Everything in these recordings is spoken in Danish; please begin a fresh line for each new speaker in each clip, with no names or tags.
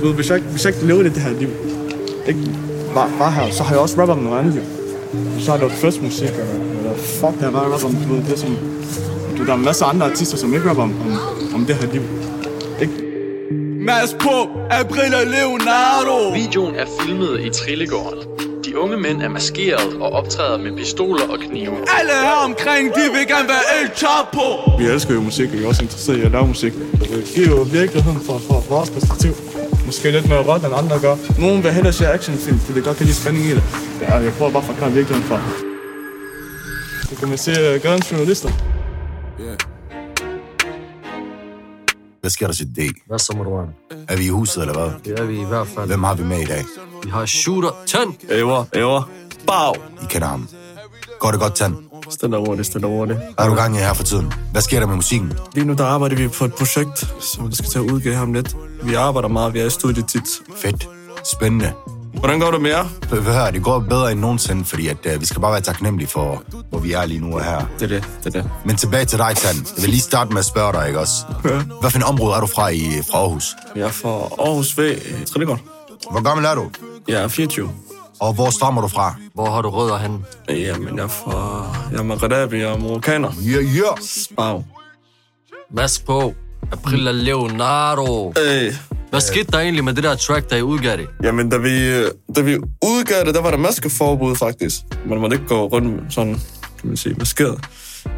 Du ved, hvis jeg, ikke- hvis jeg ikke levede det, det her liv, ikke var, var her, så har jeg også rappet om noget andet, jo. Så har jeg lavet først musik, og eller fuck, der var rap om, du ved, det som... Du, der er masser af andre artister, som ikke rapper om, om, om det her liv. Ikke?
Mads på, April og Leonardo.
Videoen er filmet i Trillegården. De unge mænd er maskeret og optræder med pistoler og knive.
Alle her omkring, de vil gerne være El Chapo.
Vi elsker jo musik, og jeg er også interesseret i at lave musik. Det giver jo virkeligheden fra, fra vores perspektiv. Måske lidt mere råt, end andre gør. Nogen vil hellere se actionfilm, fordi det godt kan lide spænding i det. Ja, jeg prøver bare at forklare virkeligheden fra. Det kan man se uh, gadens journalister.
Hvad sker der til D?
Hvad så, Marwan?
Er vi i huset, eller hvad?
Det er vi i hvert fald.
Hvem har vi med i dag?
Vi har shooter. Tøn!
Æver, æver. Bag.
I kender ham. Går det godt, Tan?
Stand over det, stand over det.
Er du gang i her for tiden? Hvad sker der med musikken?
Lige nu der arbejder vi på et projekt, som vi skal til at udgive ham lidt. Vi arbejder meget, vi er i studiet tit.
Fedt. Spændende.
Hvordan går det med jer?
Hør, hør, det går bedre end nogensinde, fordi at, øh, vi skal bare være taknemmelige for, hvor vi er lige nu og her.
Det er det, det er det.
Men tilbage til dig, Tan. Jeg vil lige starte med at spørge dig, ikke også? Hvad for en område er du fra i fra Aarhus?
Jeg er fra Aarhus V. øh, Trillegård.
Hvor gammel er du?
Jeg er 24.
Og hvor stammer du fra?
Hvor har du rødder henne?
Jamen, jeg er fra... Jeg er Maradabi, jeg er marokkaner.
Ja, ja.
Bag.
Mask på. April og Leonardo.
Øh,
Hvad skete der egentlig med det der track, der I udgav det?
jamen, da vi, øh, da vi udgav det, der var der maskeforbud, faktisk. Man måtte ikke gå rundt med sådan, kan man sige, maskeret.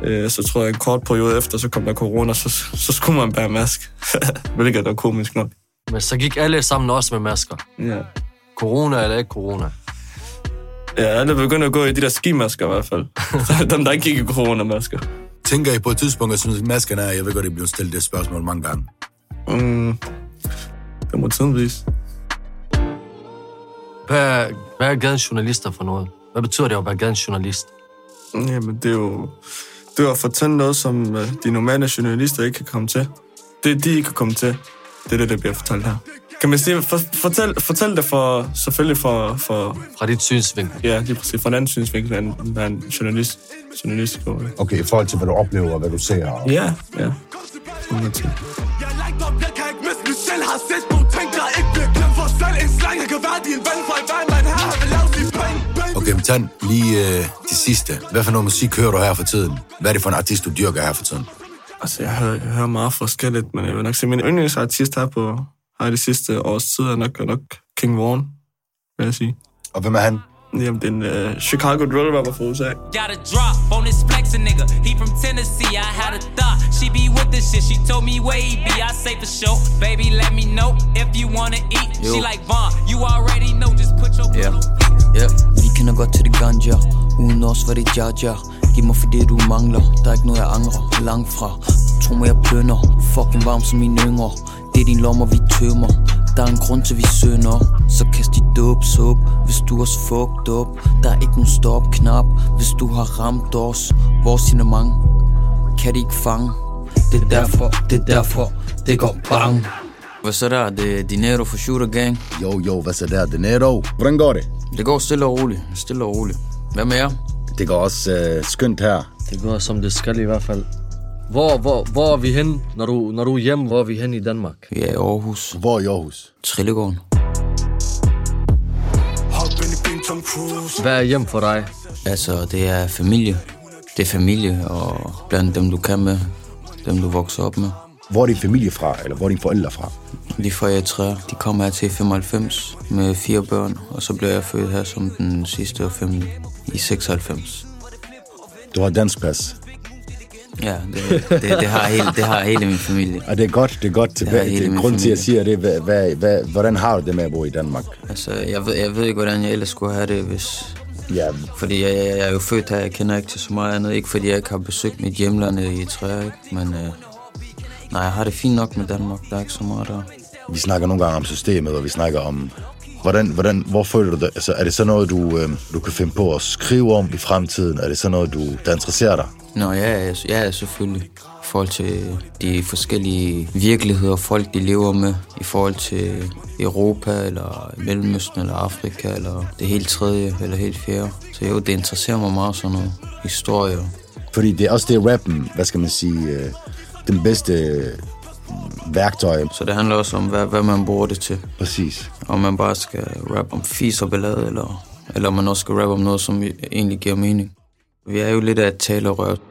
Øh, så tror jeg, en kort periode efter, så kom der corona, så, så skulle man bære mask. Hvilket er komisk nok.
Men så gik alle sammen også med masker.
Ja.
Corona eller ikke corona?
Ja, alle begynder at gå i de der skimasker i hvert fald. Dem, der ikke gik i coronamasker.
Tænker I på et tidspunkt, at synes, masken er, jeg ved godt, det bliver stillet det spørgsmål mange gange.
Mm. Det må tiden vise.
Hvad er, hvad er gadens journalister for noget? Hvad betyder det at være gadens journalist?
Jamen, det er jo... Det er jo at fortælle noget, som øh, de normale journalister ikke kan komme til. Det, de ikke kan komme til, det er det, der bliver fortalt her. Kan man sige, for, fortæl, fortæl det for, selvfølgelig for, for,
Fra dit synsvinkel.
ja, lige præcis, for en anden synsvinkel, end hvad en journalist, journalist går.
Okay, i forhold til, hvad du oplever og hvad du ser.
Ja, ja. Sådan noget ting.
Jeg langt op, jeg kan ikke miste mig selv Har set på ting, der ikke bliver glemt For selv en slang, jeg kan være din ven For i hver man her, har vil lave sin penge Baby,
Okay, men tag lige øh, det sidste. Hvad for noget musik hører du her for tiden? Hvad er det for en artist, du dyrker her for tiden?
Altså, jeg hører, jeg hører meget forskelligt, men jeg vil nok sige, at min yndlingsartist her på her i de sidste års tid er nok, er nok King Vaughn, vil jeg sige.
Og hvem er han?
Jamen, det er en uh, Chicago drill rapper fra USA.
Got a drop on this flexin' nigga. He from Tennessee. I had a thought. She be with this shit. She told me where he be. I say for sure. Baby, let me know if you wanna eat. She like Vaughn. You already know. Just put your yeah.
Vi kender godt til det ganja Uden os var det jar jar Giv mig for det du mangler Der er ikke noget jeg angrer Langt fra Tro mig jeg plønder Fucking varm som mine yngre Det er din lommer vi tømmer Der er en grund til vi sønder Så kast dit dubs op Hvis du har fucked op Der er ikke nogen stop knap Hvis du har ramt os Vores signalement Kan de ikke fange Det er derfor Det er derfor Det går bang Hvad så der? Det er Dinero for Shooter Gang
Jo, jo, hvad så der? Det netto. Hvordan går det?
Det går stille og roligt, stille og roligt. Hvad med jer?
Det går også øh, skønt her.
Det går som det skal i hvert fald. Hvor, hvor, hvor er vi hen, når du, når du er hjemme? Hvor er vi hen i Danmark?
Vi er i Aarhus,
Hvor i Aarhus?
Trillegården.
hop ind i bilen, Tom Cruise
Hvad er hjem for dig?
Altså, det er familie. Det er familie, og blandt dem, du kan med, dem, du vokser op med.
Hvor er din familie fra, eller hvor er dine forældre fra?
De fra Eritrea, de kommer her til i 95 med fire børn, og så blev jeg født her som den sidste af fem i 96.
Du har dansk pas.
Ja, det, det, det, har, hele, det har hele min familie.
Og det er godt, det er godt tilbage.
Ja, hele
det er
min
grund til, at jeg
familie.
siger det. Hvad, hvad, hvad, hvordan har du det med at bo i Danmark?
Altså, jeg ved, jeg ved ikke, hvordan jeg ellers skulle have det, hvis,
Ja,
Fordi jeg, jeg, jeg er jo født her, jeg kender ikke til så meget andet. Ikke fordi jeg ikke har besøgt mit hjemland i Eritrea, ikke? men øh, nej, jeg har det fint nok med Danmark. Der er ikke så meget der.
vi snakker nogle gange om systemet, og vi snakker om... Hvordan, hvordan, hvor føler du det? Altså, er det så noget, du, øh, du kan finde på at skrive om i fremtiden? Er det så noget, du, der interesserer dig?
Nå, ja, ja, ja, selvfølgelig. I forhold til de forskellige virkeligheder, folk de lever med. I forhold til Europa, eller Mellemøsten, eller Afrika, eller det helt tredje, eller helt fjerde. Så jo, det interesserer mig meget sådan noget. Historie.
Fordi det er også det rappen, hvad skal man sige, øh, den bedste øh, værktøj.
Så det handler også om, hvad, hvad man bruger det til.
Præcis.
Om man bare skal rappe om fis og ballade, eller, eller om man også skal rappe om noget, som egentlig giver mening. Vi er jo lidt af et talerør.